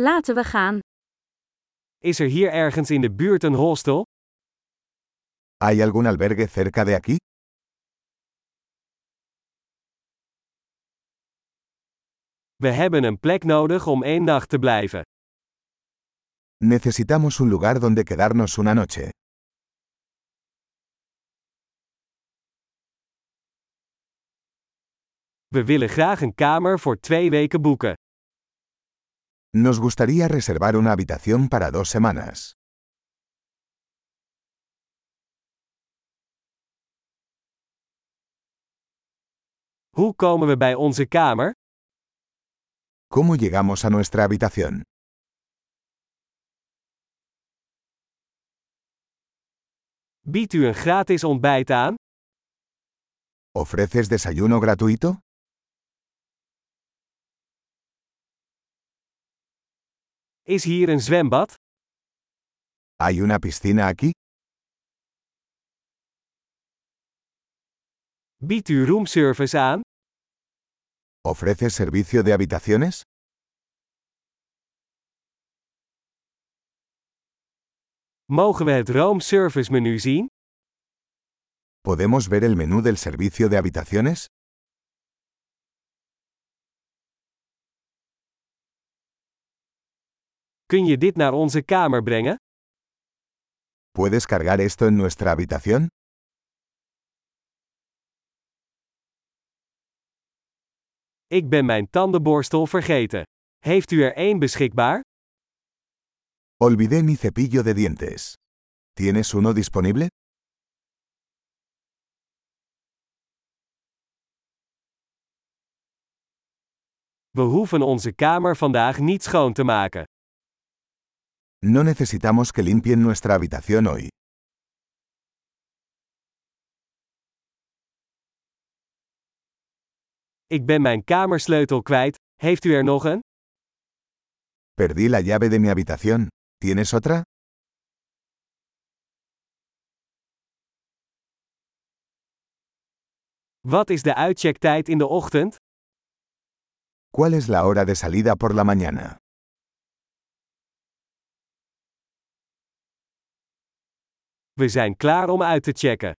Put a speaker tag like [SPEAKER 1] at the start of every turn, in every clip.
[SPEAKER 1] Laten we gaan.
[SPEAKER 2] Is er hier ergens in de buurt een hostel?
[SPEAKER 3] ¿Hay algún albergue cerca de aquí?
[SPEAKER 2] We hebben een plek nodig om één nacht te blijven.
[SPEAKER 3] Necesitamos un lugar donde quedarnos una noche.
[SPEAKER 2] We willen graag een kamer voor twee weken boeken.
[SPEAKER 3] Nos gustaría reservar una habitación para dos semanas.
[SPEAKER 2] Hoe komen we bij onze kamer?
[SPEAKER 3] ¿Cómo llegamos a nuestra habitación?
[SPEAKER 2] Biedt u een gratis ontbijt aan?
[SPEAKER 3] ¿Ofreces desayuno gratuito?
[SPEAKER 2] Is hier een zwembad?
[SPEAKER 3] ¿Hay una piscina aquí?
[SPEAKER 2] Biedt u roomservice aan?
[SPEAKER 3] ¿Ofreces servicio de habitaciones?
[SPEAKER 2] Mogen we het roomservice menu zien?
[SPEAKER 3] ¿Podemos ver el menú del servicio de habitaciones?
[SPEAKER 2] Kun je dit naar onze kamer brengen?
[SPEAKER 3] ¿Puedes cargar esto en nuestra habitación?
[SPEAKER 2] Ik ben mijn tandenborstel vergeten. Heeft u er één beschikbaar?
[SPEAKER 3] Olvidé mi cepillo de dientes. ¿Tienes uno disponible?
[SPEAKER 2] We hoeven onze kamer vandaag niet schoon te maken.
[SPEAKER 3] No necesitamos que limpien nuestra habitación hoy.
[SPEAKER 2] Ik ben mijn kamersleutel kwijt. Heeft u er nog een?
[SPEAKER 3] Perdí la llave de mi habitación. ¿Tienes otra?
[SPEAKER 2] Wat is de uitchecktijd in de ochtend?
[SPEAKER 3] ¿Cuál es la hora de salida por la mañana?
[SPEAKER 2] We zijn klaar om uit te checken.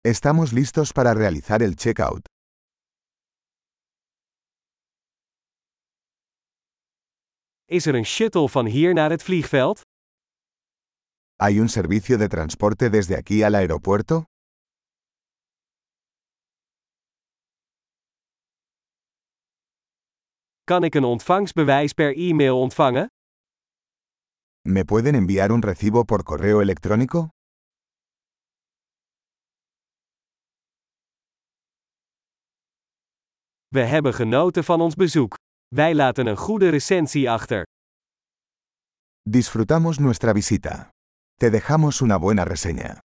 [SPEAKER 3] Estamos listos para realizar el checkout.
[SPEAKER 2] Is er een shuttle van hier naar het vliegveld?
[SPEAKER 3] ¿Hay un servicio de transporte desde aquí al aeropuerto?
[SPEAKER 2] Kan ik een ontvangstbewijs per e-mail ontvangen?
[SPEAKER 3] ¿Me pueden enviar un recibo por correo electrónico?
[SPEAKER 2] We hebben genoten van ons bezoek. Wij laten een goede recensie achter.
[SPEAKER 3] Disfrutamos nuestra visita. Te dejamos una buena reseña.